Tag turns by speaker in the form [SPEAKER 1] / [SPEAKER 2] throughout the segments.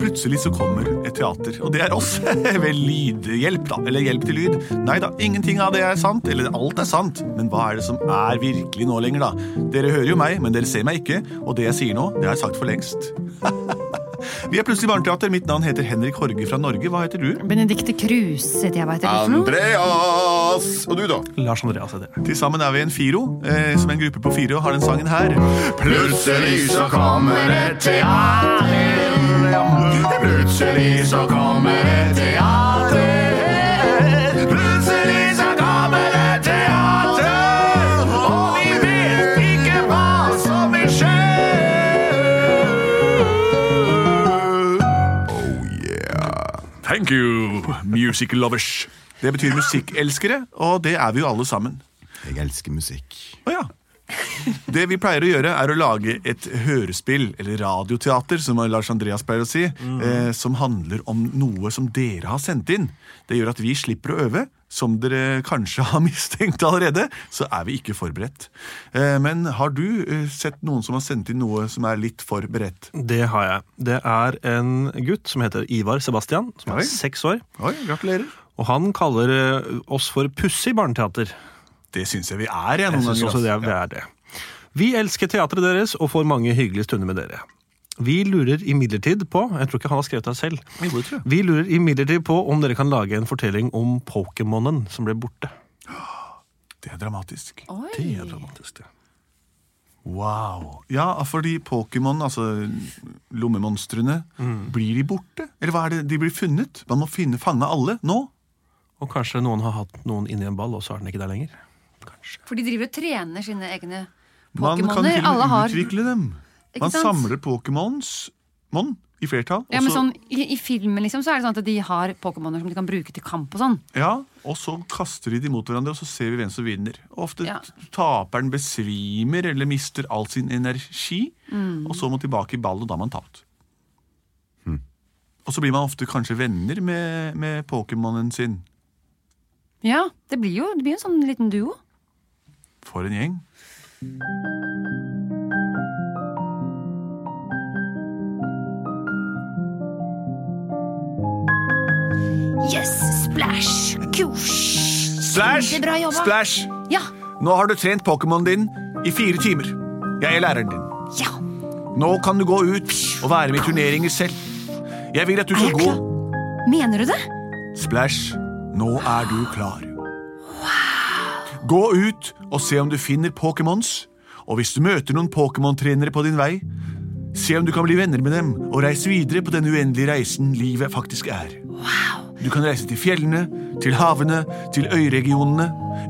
[SPEAKER 1] Plutselig så kommer et teater, og det er oss. Ved lydhjelp, da. Eller hjelp til lyd. Nei da, ingenting av det er sant. Eller alt er sant. Men hva er det som er virkelig nå lenger, da? Dere hører jo meg, men dere ser meg ikke. Og det jeg sier nå, det har jeg sagt for lengst. Vi er Plutselig barneteater. Mitt navn heter Henrik Horge fra Norge. Hva heter du?
[SPEAKER 2] Benedicte Kruse heter jeg, hva heter det for noe?
[SPEAKER 3] Andreas! Og du, da?
[SPEAKER 4] Lars Andreas heter jeg.
[SPEAKER 1] Til sammen er vi en firo, eh, som er en gruppe på fire, og har den sangen her.
[SPEAKER 3] Plutselig så kommer et teater. Plutselig så kommer et teater. Plutselig så kommer et teater. Og vi vet ikke hva som vil skje. Oh yeah.
[SPEAKER 1] Thank you, music lovers. Det betyr musikkelskere, og det er vi jo alle sammen.
[SPEAKER 3] Jeg elsker musikk.
[SPEAKER 1] Å ja. Det vi pleier å gjøre, er å lage et hørespill, eller radioteater, som Lars Andreas pleier å si, eh, som handler om noe som dere har sendt inn. Det gjør at vi slipper å øve. Som dere kanskje har mistenkt allerede, så er vi ikke forberedt. Eh, men har du eh, sett noen som har sendt inn noe som er litt for beredt?
[SPEAKER 4] Det har jeg. Det er en gutt som heter Ivar Sebastian, som
[SPEAKER 1] Oi.
[SPEAKER 4] er seks år.
[SPEAKER 1] Oi, gratulerer.
[SPEAKER 4] Og han kaller eh, oss for Pussig barneteater.
[SPEAKER 1] Det syns jeg vi er, jeg,
[SPEAKER 4] Jeg
[SPEAKER 1] noen
[SPEAKER 4] synes
[SPEAKER 1] ganger.
[SPEAKER 4] også det
[SPEAKER 1] altså.
[SPEAKER 4] er, det er det. Vi elsker teatret deres og får mange hyggelige stunder med dere. Vi lurer imidlertid på Jeg tror ikke han har skrevet det selv.
[SPEAKER 1] Jo, det tror jeg.
[SPEAKER 4] Vi lurer imidlertid på om dere kan lage en fortelling om Pokémonen som ble borte.
[SPEAKER 1] Det er dramatisk.
[SPEAKER 2] Oi.
[SPEAKER 4] Det er dramatisk, det.
[SPEAKER 1] Wow. Ja, fordi Pokémon, altså lommemonstrene, blir de borte? Eller hva er det? De blir funnet? Man må finne, fange alle nå?
[SPEAKER 4] Og kanskje noen har hatt noen inni en ball, og så er den ikke der lenger. Kanskje.
[SPEAKER 2] For de driver og trener sine egne
[SPEAKER 1] Man kan til
[SPEAKER 2] pokémoner.
[SPEAKER 1] og
[SPEAKER 2] Alle
[SPEAKER 1] med
[SPEAKER 2] har
[SPEAKER 1] utvikle dem.
[SPEAKER 2] Ikke
[SPEAKER 1] Man
[SPEAKER 2] sant?
[SPEAKER 1] samler Pokémons mon, i flertall.
[SPEAKER 2] ja,
[SPEAKER 1] og
[SPEAKER 2] men
[SPEAKER 1] så-
[SPEAKER 2] sånn, i, I filmen liksom, så er det sånn at de har pokémoner som de kan bruke til kamp og sånn.
[SPEAKER 1] ja, og så kaster de de mot hverandre, og så ser vi hvem som vinner. Og ofte
[SPEAKER 2] Ja.
[SPEAKER 1] t- taperen besvimer eller mister all sin energi,
[SPEAKER 2] Mm.
[SPEAKER 1] og så må tilbake i ball, og da er man tapt. Og så blir man ofte kanskje venner med, med Pokémonen sin.
[SPEAKER 2] Ja, Det blir jo det blir en sånn liten duo.
[SPEAKER 1] For en gjeng.
[SPEAKER 2] Yes, splash, kurs.
[SPEAKER 1] Splash!
[SPEAKER 2] Kjempebra jobba.
[SPEAKER 1] Splash!
[SPEAKER 2] Ja,
[SPEAKER 1] Nå har du trent Pokémonen din i fire timer. Jeg er læreren din.
[SPEAKER 2] ja.
[SPEAKER 1] Nå kan du gå ut og være med i turneringer selv. Jeg vil at du
[SPEAKER 2] Er
[SPEAKER 1] skal
[SPEAKER 2] jeg
[SPEAKER 1] gå
[SPEAKER 2] klar? Mener du det?
[SPEAKER 1] Splash, nå er du klar. Gå ut og se om du finner Pokémons. Og hvis du møter noen Pokémon-trenere på din vei, se om du kan bli venner med dem og reise videre på den uendelige reisen livet faktisk er. Du kan reise til fjellene, til havene, til øyregionene.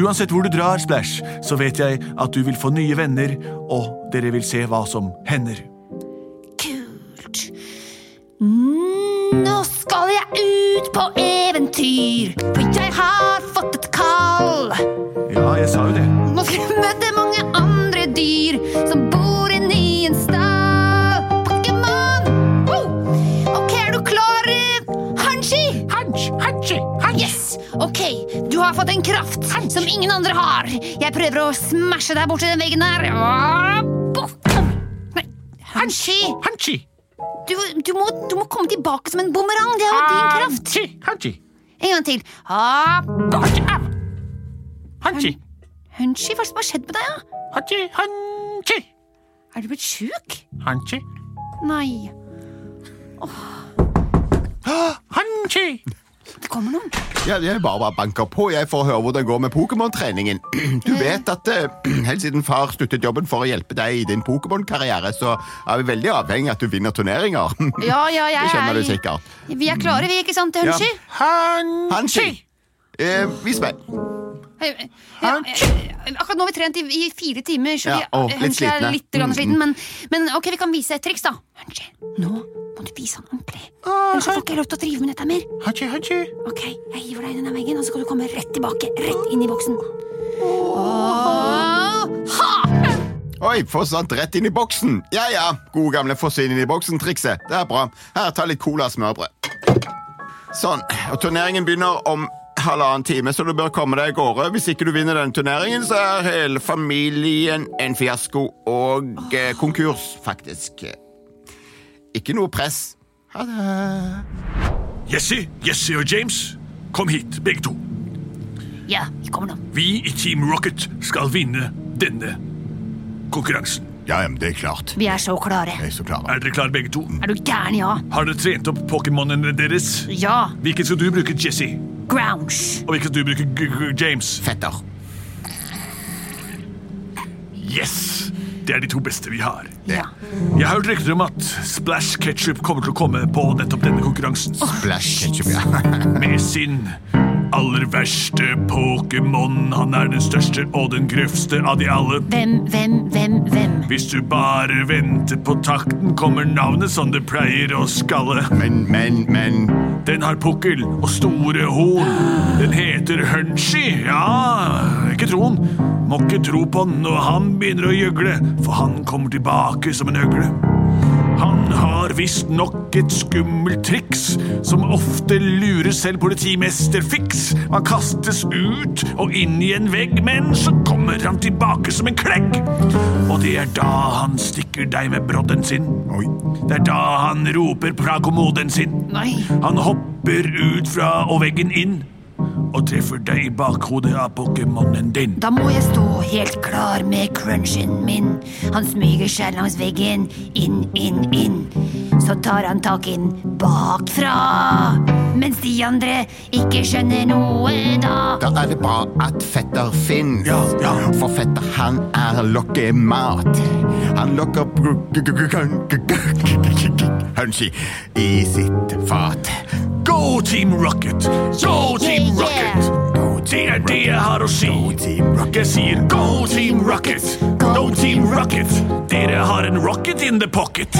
[SPEAKER 1] Uansett hvor du drar, Splash, så vet jeg at du vil få nye venner, og dere vil se hva som hender.
[SPEAKER 5] Kult. Nå skal jeg ut på eventyr, for jeg har fått et kall.
[SPEAKER 1] Ja, jeg sa jo det.
[SPEAKER 5] Nå skal jeg møte mange andre dyr som bor inni en stall. Pokémon! Wow! Ok, er du klar, eh, Hanshi? Yes! Ok, du har fått en kraft som ingen andre har. Jeg prøver å smashe deg borti den veggen der. Ah, boff. Nei, Hanshi! Du, du, må, du må komme tilbake som en bumerang. Det var din kraft. En gang til. Ah, boff. Au. Hunchy, hva er det som har skjedd med deg? da? Er du blitt sjuk? Nei. Det kommer noen.
[SPEAKER 3] Ja, jeg bare, bare banker på jeg får høre hvordan det går med Pokémon-treningen. Du vet at eh, helt siden far sluttet jobben for å hjelpe deg i din Pokémon-karriere, så er vi veldig avhengig av at du vinner turneringer.
[SPEAKER 5] Ja, ja, jeg
[SPEAKER 3] Det skjønner
[SPEAKER 5] er-
[SPEAKER 3] du sikkert.
[SPEAKER 5] Vi er klare, vi, ikke sant, Hunchy?
[SPEAKER 3] Hanshi! Eh, vis meg.
[SPEAKER 2] Eh, Ja, eh, akkurat nå har vi trent i, i fire timer, så
[SPEAKER 3] Ja,
[SPEAKER 2] vi
[SPEAKER 3] og
[SPEAKER 2] eh,
[SPEAKER 3] litt
[SPEAKER 2] Hunchy er
[SPEAKER 3] slitne.
[SPEAKER 2] litt grann
[SPEAKER 3] Mm,
[SPEAKER 2] sliten. Men, men ok, vi kan vise et triks, da. Hunchy, nå må du vise han ordentlig. Ellers så får ikke jeg lov til å drive med dette mer.
[SPEAKER 6] Hachi, hachi.
[SPEAKER 2] Ok, jeg hiver deg inn i den veggen, og så skal du komme rett tilbake. Rett inn i boksen.
[SPEAKER 3] Oi, forsvant rett inn i boksen. Ja ja, gode gamle forsvinn inn i boksen-trikset. Det er bra. Her, ta litt cola og smørbrød. Sånn. Og turneringen begynner om halvannen time, så du bør komme deg av gårde. Hvis ikke du vinner denne turneringen, så er hele familien en fiasko og eh, konkurs, faktisk. Ikke noe press. Ha det.
[SPEAKER 1] Jesse, Jesse og James, kom hit, begge to.
[SPEAKER 2] Ja, vi kommer nå.
[SPEAKER 1] Vi i Team Rocket skal vinne denne konkurransen.
[SPEAKER 3] Ja, men det er klart.
[SPEAKER 2] Vi er så klare.
[SPEAKER 3] Jeg er så klar.
[SPEAKER 1] Er dere klare, begge to?
[SPEAKER 2] Er du gæren, ja?
[SPEAKER 1] Har dere trent opp pokémonene deres?
[SPEAKER 2] Ja.
[SPEAKER 1] Hvilken skal du bruke, Jesse?
[SPEAKER 2] Grounge.
[SPEAKER 1] Og hvilken skal du bruke, G -G James?
[SPEAKER 3] Fetter.
[SPEAKER 1] Yes! Det er de to beste vi har.
[SPEAKER 2] Ja.
[SPEAKER 1] Jeg har hørt rykter om at Splash Ketchup kommer til å komme på nettopp denne konkurransen.
[SPEAKER 3] Flash ketchup, ja.
[SPEAKER 1] Med sin aller verste Pokémon. Han er den største og den grøvste av de alle.
[SPEAKER 2] Hvem, hvem, hvem, hvem?
[SPEAKER 1] Hvis du bare venter på takten, kommer navnet som det pleier å skalle.
[SPEAKER 3] Men, men, men.
[SPEAKER 1] Den har pukkel og store horn. Den heter Hunchy. Ja, ikke tro han. Må ikke tro på han når han begynner å gjøgle, for han kommer tilbake som en øgle. Han har visstnok et skummelt triks som ofte lurer selv politimester Fiks. Han kastes ut og inn i en vegg, men så kommer han tilbake som en klegg. Og det er da han stikker deg med brodden sin.
[SPEAKER 3] Oi.
[SPEAKER 1] Det er da han roper fra kommoden sin.
[SPEAKER 2] Nei.
[SPEAKER 1] Han hopper ut fra og veggen inn og treffer deg i bakhodet av Pokémonen din.
[SPEAKER 2] Da må jeg stå helt klar med crunchen min. Han smyger seg langs veggen, inn, inn, inn. Så tar han tak inn bakfra. Mens de andre ikke skjønner noe da.
[SPEAKER 3] Da er det bra at fetter finnes.
[SPEAKER 1] Ja, ja.
[SPEAKER 3] For fetter, han er lokkemat. Han lokker gru- gru- gru- gru- gru- gru- gru- gru- Hunchy i sitt fat.
[SPEAKER 1] Go Team Rocket! Go Team Rocket!
[SPEAKER 3] Go
[SPEAKER 1] Det
[SPEAKER 3] Team
[SPEAKER 1] er det jeg har å si.
[SPEAKER 3] Go Team Rocket.
[SPEAKER 1] Jeg sier go Team Rocket! Go Team Rocket! Dere har en rocket in the pocket.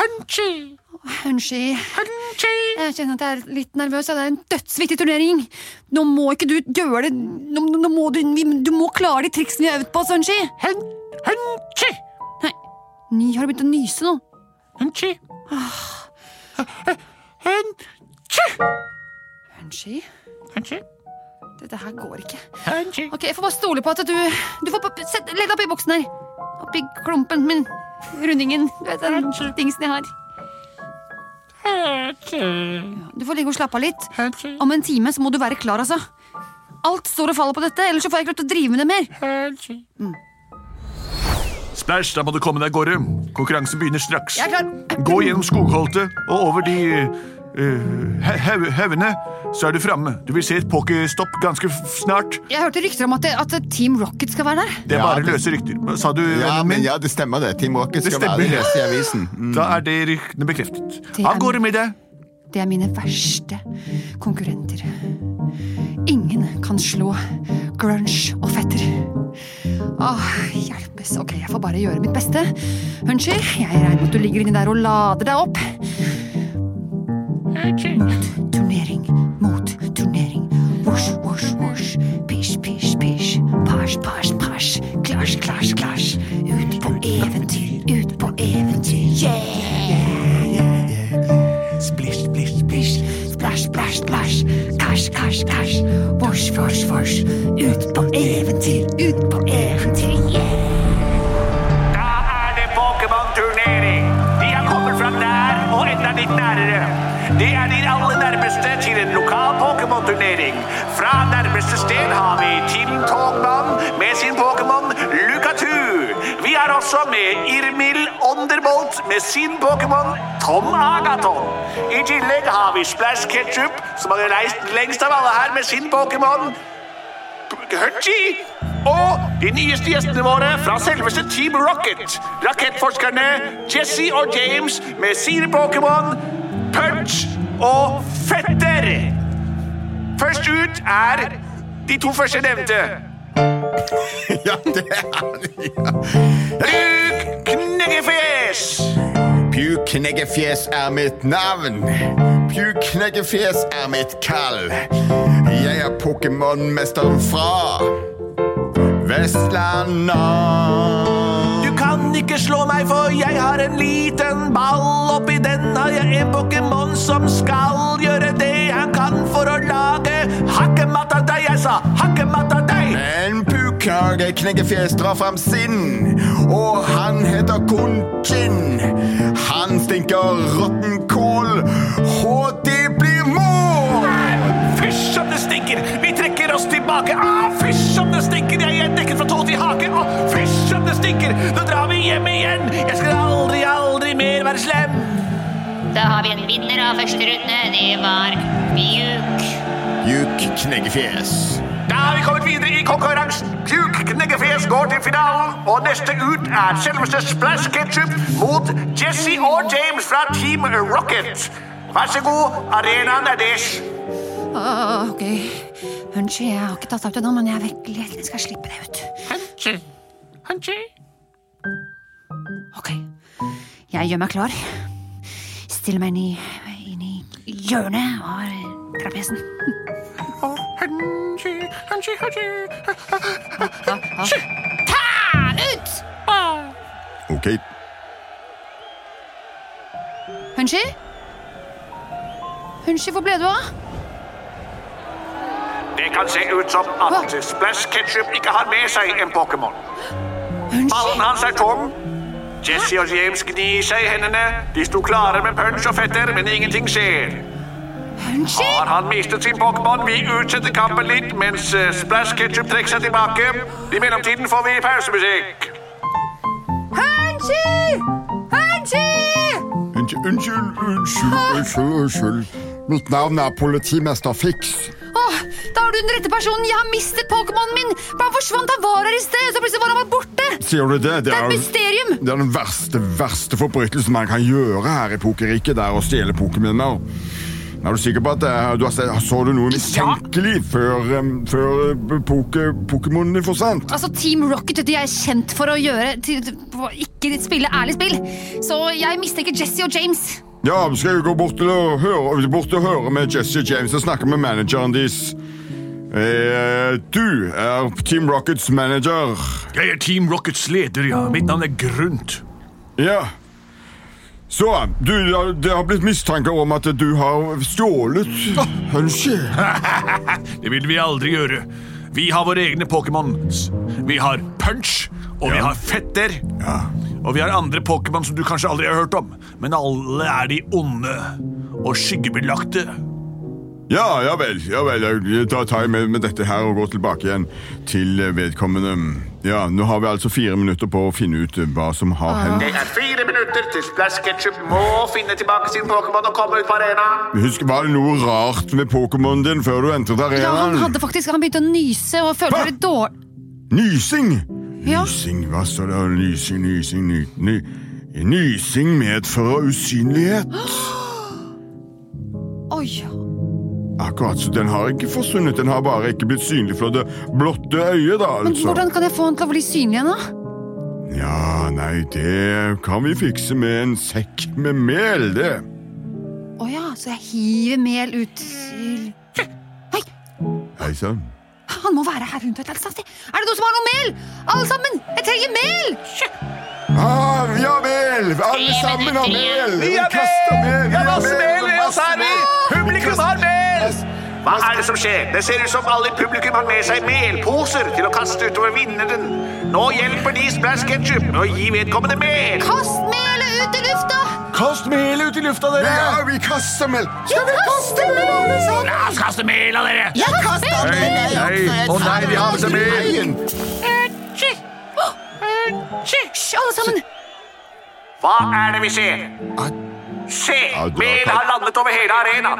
[SPEAKER 2] Hunchy. Jeg kjenner at jeg er litt nervøs. ja. Det er en dødsviktig turnering. Nå må ikke du gjøre det. Nå, nå- nå må du, vi- du må klare de triksene vi har øvd på, Hunchy.
[SPEAKER 1] Hunchy!
[SPEAKER 2] Nei, Ny har begynt å nyse nå. Ah.
[SPEAKER 1] Hunchy!
[SPEAKER 2] Hunchy,
[SPEAKER 1] Hunchy!
[SPEAKER 2] dette her går ikke.
[SPEAKER 1] Hunchy!
[SPEAKER 2] Ok, Jeg får bare stole på at du Du får bare sett- legg deg oppi boksen her. Oppi klumpen min. Rundingen. Du vet den dingsen jeg har. Ja, du får ligge og slappe av litt. Om en time så må du være klar, altså. Alt står og faller på dette, ellers så får jeg ikke lov til å drive med det mer.
[SPEAKER 1] Splash, da må du komme deg av gårde. Konkurransen begynner straks.
[SPEAKER 2] Jeg er klar.
[SPEAKER 1] Gå gjennom skogholtet og over de eh, he- hau- haugene, så er du framme. Du vil se et pokerstopp ganske f- snart.
[SPEAKER 2] Jeg hørte rykter om at, det, at Team Rocket skal være der.
[SPEAKER 1] Det er
[SPEAKER 3] Ja,
[SPEAKER 1] bare
[SPEAKER 3] det-
[SPEAKER 1] løse rykter. Hva Sa du
[SPEAKER 3] Ja,
[SPEAKER 1] vennen
[SPEAKER 3] men
[SPEAKER 1] min?
[SPEAKER 3] ja, det stemmer det. Team Rocket
[SPEAKER 1] Det
[SPEAKER 3] skal være det
[SPEAKER 1] stemmer.
[SPEAKER 3] leste i avisen. Mm.
[SPEAKER 1] Da er det ryktene bekreftet.
[SPEAKER 2] Det er-
[SPEAKER 1] Av gårde med deg.
[SPEAKER 2] Det er mine verste konkurrenter. Ingen kan slå grunge og fetter. Åh, hjelpes. Ok, jeg får bare gjøre mitt beste. Hunchy, jeg regner med at du ligger inni der og lader deg opp. Mot turnering, mot turnering. Wosh, wosh, wosh. Pish, pish, pish. Pasj, pasj, pasj. Klasj, klasj, klasj. Ut på eventyr, ut på eventyr. Yeah!
[SPEAKER 1] Splish, splish,
[SPEAKER 2] Splish, splash, splash, splash. Kasj, kasj, kasj. Vosh, vosh, vosh. Ut på eventyr, ut på eventyr. Yeah.
[SPEAKER 7] Da er det Pokémon-turnering. De har kommet fra nær og enda litt nærere. Det er de aller nærmeste til en lokal Pokémon-turnering. Fra nærmeste sted har vi Tim Togmann med sin Pokémon Lukatu. Vi har også med Irmil Onderbolt med sin Pokémon Tom Agaton. I tillegg har vi Splash Ketchup, som har reist lengst av alle her med sin Pokémon Hutchie og de nyeste gjestene våre fra selveste Team Rocket. Rakettforskerne Jesse og James med sine Pokémon Punch og Fetter. Først ut er de to første nevnte.
[SPEAKER 3] Ja, det er ja.
[SPEAKER 7] Luke Kneggefjes!
[SPEAKER 3] Pjukneggefjes er mitt navn. Pjukneggefjes er mitt kall. Jeg er Pokémon-mesteren fra Vestlandet.
[SPEAKER 7] Du kan ikke slå meg, for jeg har en liten ball. Oppi den har jeg en Pokémon som skal gjøre det han kan for å lage hakkematt av deg. Jeg sa hakkematt av deg!
[SPEAKER 3] En pukknage kneggefjes drar fram sin, og han heter Kunchin. Han stinker råtten kål, og det blir mål!
[SPEAKER 7] Fysj som det stinker! Vi trekker oss tilbake. Ah, fysj som det stinker! Jeg er dekket fra tå til hake. Ah, fysj som det stinker! Nå drar vi hjem igjen. Jeg skal aldri, aldri mer være slem.
[SPEAKER 8] Da har vi en vinner av første runde. Det var Mjuk.
[SPEAKER 3] Juk kneggefjes.
[SPEAKER 7] Da har vi kommet videre i konkurransen. Kuk Kneggefjes går til finalen, og neste ut er selveste Splash Ketchup mot Jesse og James fra Team Rocket. Vær så god, arenaen er deres.
[SPEAKER 2] Ah, ok. Unnskyld, jeg har ikke tatt opp det nå, men jeg er veldig Jeg skal slippe det ut. Ok. Jeg gjør meg klar. Stiller meg inn i, inn i hjørnet av trapesen.
[SPEAKER 3] Ok,
[SPEAKER 2] Hunsky? Hunsky, hvor ble du av?
[SPEAKER 7] Det kan se ut som at Splash Ketchup ikke har med seg en Pokémon. Ballen
[SPEAKER 2] Hunsky?
[SPEAKER 7] hans er tom. Jesse og James gnir seg i hendene. De sto klare med punch og fetter, men ingenting skjer.
[SPEAKER 2] Hunsky?
[SPEAKER 7] Har han mistet sin Pokémon? Vi utsetter kampen litt mens eh, Splash Ketchup trekker seg tilbake. I mellomtiden får vi pausemusikk.
[SPEAKER 2] Hunsky! Hunsky!
[SPEAKER 3] Unnskyld, unnskyld, unnskyld, unnskyld, unnskyld. Mitt navn er politimester Fiks.
[SPEAKER 2] Åh, da er du den rette personen. Jeg har mistet Pokémonen min. Han forsvant, han var her i sted, så plutselig var han bare borte.
[SPEAKER 3] Sier du det?
[SPEAKER 2] Det er et mysterium.
[SPEAKER 3] det er den verste, verste forbrytelsen man kan gjøre her i pokeriket, det er å stjele pokerminner. Er du sikker på at eh, du har sett, så du noe mistenkelig før, em, før eh, poke, pokemonen din forsvant?
[SPEAKER 2] Altså, Team Rocket vet du, jeg er kjent for å gjøre til, for å ikke spille ærlig spill. Så jeg mistenker Jesse og James.
[SPEAKER 3] Ja, vi skal jo gå bort til å høre, bort til å høre med Jesse James og snakke med manageren deres. Eh, du er Team Rockets manager.
[SPEAKER 9] Jeg er Team Rockets leder, ja. Mitt navn er Grunt.
[SPEAKER 3] Ja. Så, du, det har- det har blitt mistanker om at du har stjålet
[SPEAKER 2] Ah.
[SPEAKER 3] Hunchy.
[SPEAKER 9] Det vil vi aldri gjøre. Vi har våre egne Pokémons. Vi har Punch, og vi har Fetter. Og vi har andre Pokémon som du kanskje aldri har hørt om. Men alle er de onde og skyggebelagte.
[SPEAKER 3] Ja, ja vel. ja vel, jeg- Da tar jeg med, med dette her og går tilbake igjen til eh, vedkommende. Ja, Nå har vi altså fire minutter på å finne ut eh, hva som har hendt.
[SPEAKER 7] Det er fire minutter til Splash Ketchup må finne tilbake sin Pokémon og komme ut på arenaen.
[SPEAKER 3] Husk, Var det noe rart med Pokémonen din før du entret
[SPEAKER 2] Ja, han
[SPEAKER 3] arenaen?
[SPEAKER 2] hadde faktisk, han begynte å nyse og følte
[SPEAKER 3] Hva?
[SPEAKER 2] seg litt dårlig.
[SPEAKER 3] Nysing!
[SPEAKER 2] Ja.
[SPEAKER 3] Nysing, hva står det? Nysing, nysing, ny, ny. Nysing medfører usynlighet.
[SPEAKER 2] Oi,
[SPEAKER 3] Akkurat, så den har ikke forsvunnet. Den har bare ikke blitt synlig fra det blotte øyet, da,
[SPEAKER 2] men
[SPEAKER 3] altså.
[SPEAKER 2] hvordan kan jeg få han til å bli synlig igjen da?
[SPEAKER 3] Ja, nei, det kan vi fikse med en sekk med mel, det.
[SPEAKER 2] Åja, så jeg hiver mel ut til... Hei,
[SPEAKER 3] Hei sann.
[SPEAKER 2] han må være her rundt et eller annet sted. Er det noen som har noe mel? Alle sammen, jeg trenger mel!
[SPEAKER 3] Ah, ja vel! Alle sammen har mel! Vi kaster mel!
[SPEAKER 7] Vi har masse mel, vi
[SPEAKER 3] masse
[SPEAKER 7] også har vi!
[SPEAKER 3] mel.
[SPEAKER 7] Publikum har mel!
[SPEAKER 3] Masse-
[SPEAKER 7] Hva er det som skjer? Det ser ut som alle i publikum har med seg melposer til å kaste utover vinneren. Nå hjelper de Splash Ketchup med å gi vedkommende mel.
[SPEAKER 2] Kast melet ut i lufta!
[SPEAKER 9] Kast melet ut i lufta, dere!
[SPEAKER 3] Ja, vi kaster mel! Skal vi kaste mel, alle sammen?
[SPEAKER 7] La oss kaste mel av dere!
[SPEAKER 2] Jeg kaster mel!
[SPEAKER 9] Nei, å nei, vi har med seg mel!
[SPEAKER 2] Hysj, alle sammen!
[SPEAKER 7] Hva er det vi ser? Se, mel har landet over hele arenaen.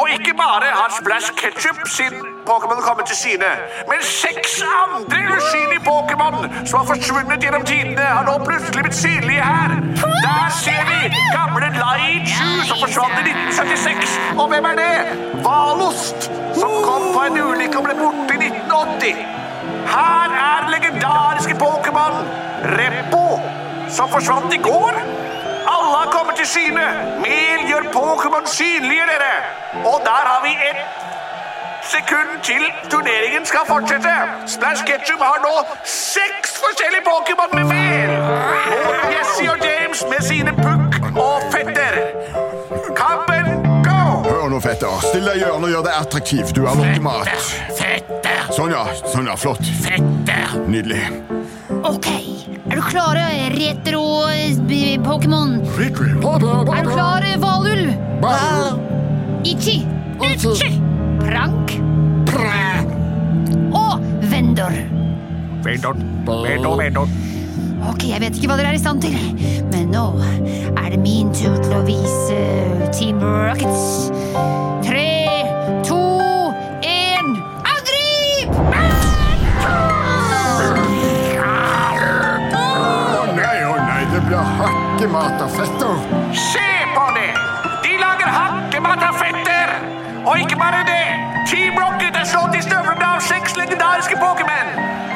[SPEAKER 7] Og ikke bare har Splash Ketchup sin Pokémon kommet til syne, men seks andre usynlige Pokémon som har forsvunnet gjennom tidene, har nå plutselig blitt synlige her. Der ser vi gamle Laichu som forsvant i 1976. Og hvem er det? Valost, som kom på en ulykke og ble borte i 1980. Her er den legendariske Pokémon Reppo, som forsvant i går. Alle har kommet til syne. Mel gjør Pokémon synlige, dere. Og der har vi ett sekund til turneringen skal fortsette. Splash Ketchum har nå seks forskjellige Pokémon med mel. Og Jesse og James med sine pukk og fetter. Kampen go!
[SPEAKER 3] Hør nå, fetter. Still deg i hjørnet og gjør deg attraktiv. Du er nok mat.
[SPEAKER 5] Fetter,
[SPEAKER 3] Sånn, ja. Sånn, ja. Flott.
[SPEAKER 5] fetter.
[SPEAKER 3] Nydelig.
[SPEAKER 8] Ok, er du klare, retro-pokémon?
[SPEAKER 5] Er du klar, Valul?
[SPEAKER 8] Ichi, Uchi, Prank og Vendor.
[SPEAKER 7] Verdon, verdon, verdon.
[SPEAKER 8] Ok, jeg vet ikke hva dere er i stand til, men nå er det min tur til å vise Team Rockets. Tre, to, en, angrip!
[SPEAKER 3] Å nei, å nei. Det blir hakkemat av fetter.
[SPEAKER 7] Se på det! De lager hakkemat av fetter! Og ikke bare det! Team Rocket er slått i støvlene av seks legendariske Pokémon!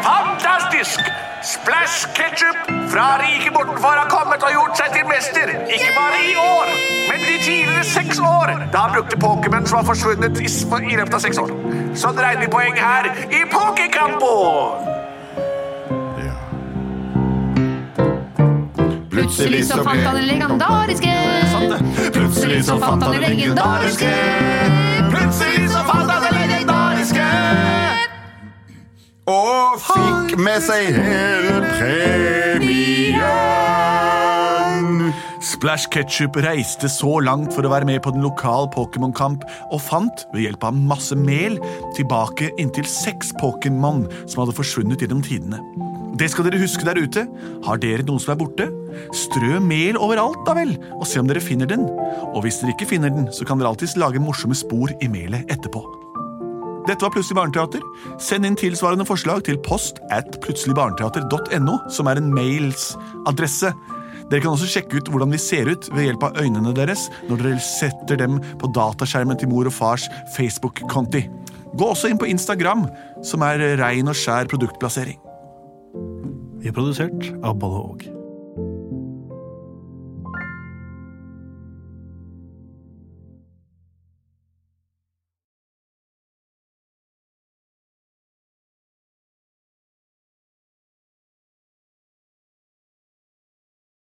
[SPEAKER 7] Fantastisk! Splash Ketchup fra riket bortenfor har kommet og gjort seg til mester. Ikke bare i år, men de tidligere seks år. Da han brukte Pokémon som var forsvunnet i, s- i løpet av seks år. Sånn regner vi poeng her i Pokékampo!
[SPEAKER 2] Plutselig så fant han det legendariske. Plutselig så fant han det legendariske.
[SPEAKER 3] Plutselig så fant han det legendariske. Og fikk med seg hele premien.
[SPEAKER 1] Splash Ketchup reiste så langt for å være med på den lokale Pokémon-kamp, og fant, ved hjelp av masse mel, tilbake inntil seks Pokémon som hadde forsvunnet gjennom tidene. Det skal dere huske der ute. Har dere noen som er borte? Strø mel overalt, da vel, og se om dere finner den. Og hvis dere ikke finner den, så kan dere alltids lage morsomme spor i melet etterpå. Dette var Plutselig barneteater. Send inn tilsvarende forslag til post at plutseligbarneteater.no, som er en mailsadresse. Dere kan også sjekke ut hvordan vi ser ut ved hjelp av øynene deres når dere setter dem på dataskjermen til mor og fars Facebook-konti. Gå også inn på Instagram, som er rein og skjær produktplassering.
[SPEAKER 4] Vi er produsert av Bolle Aag.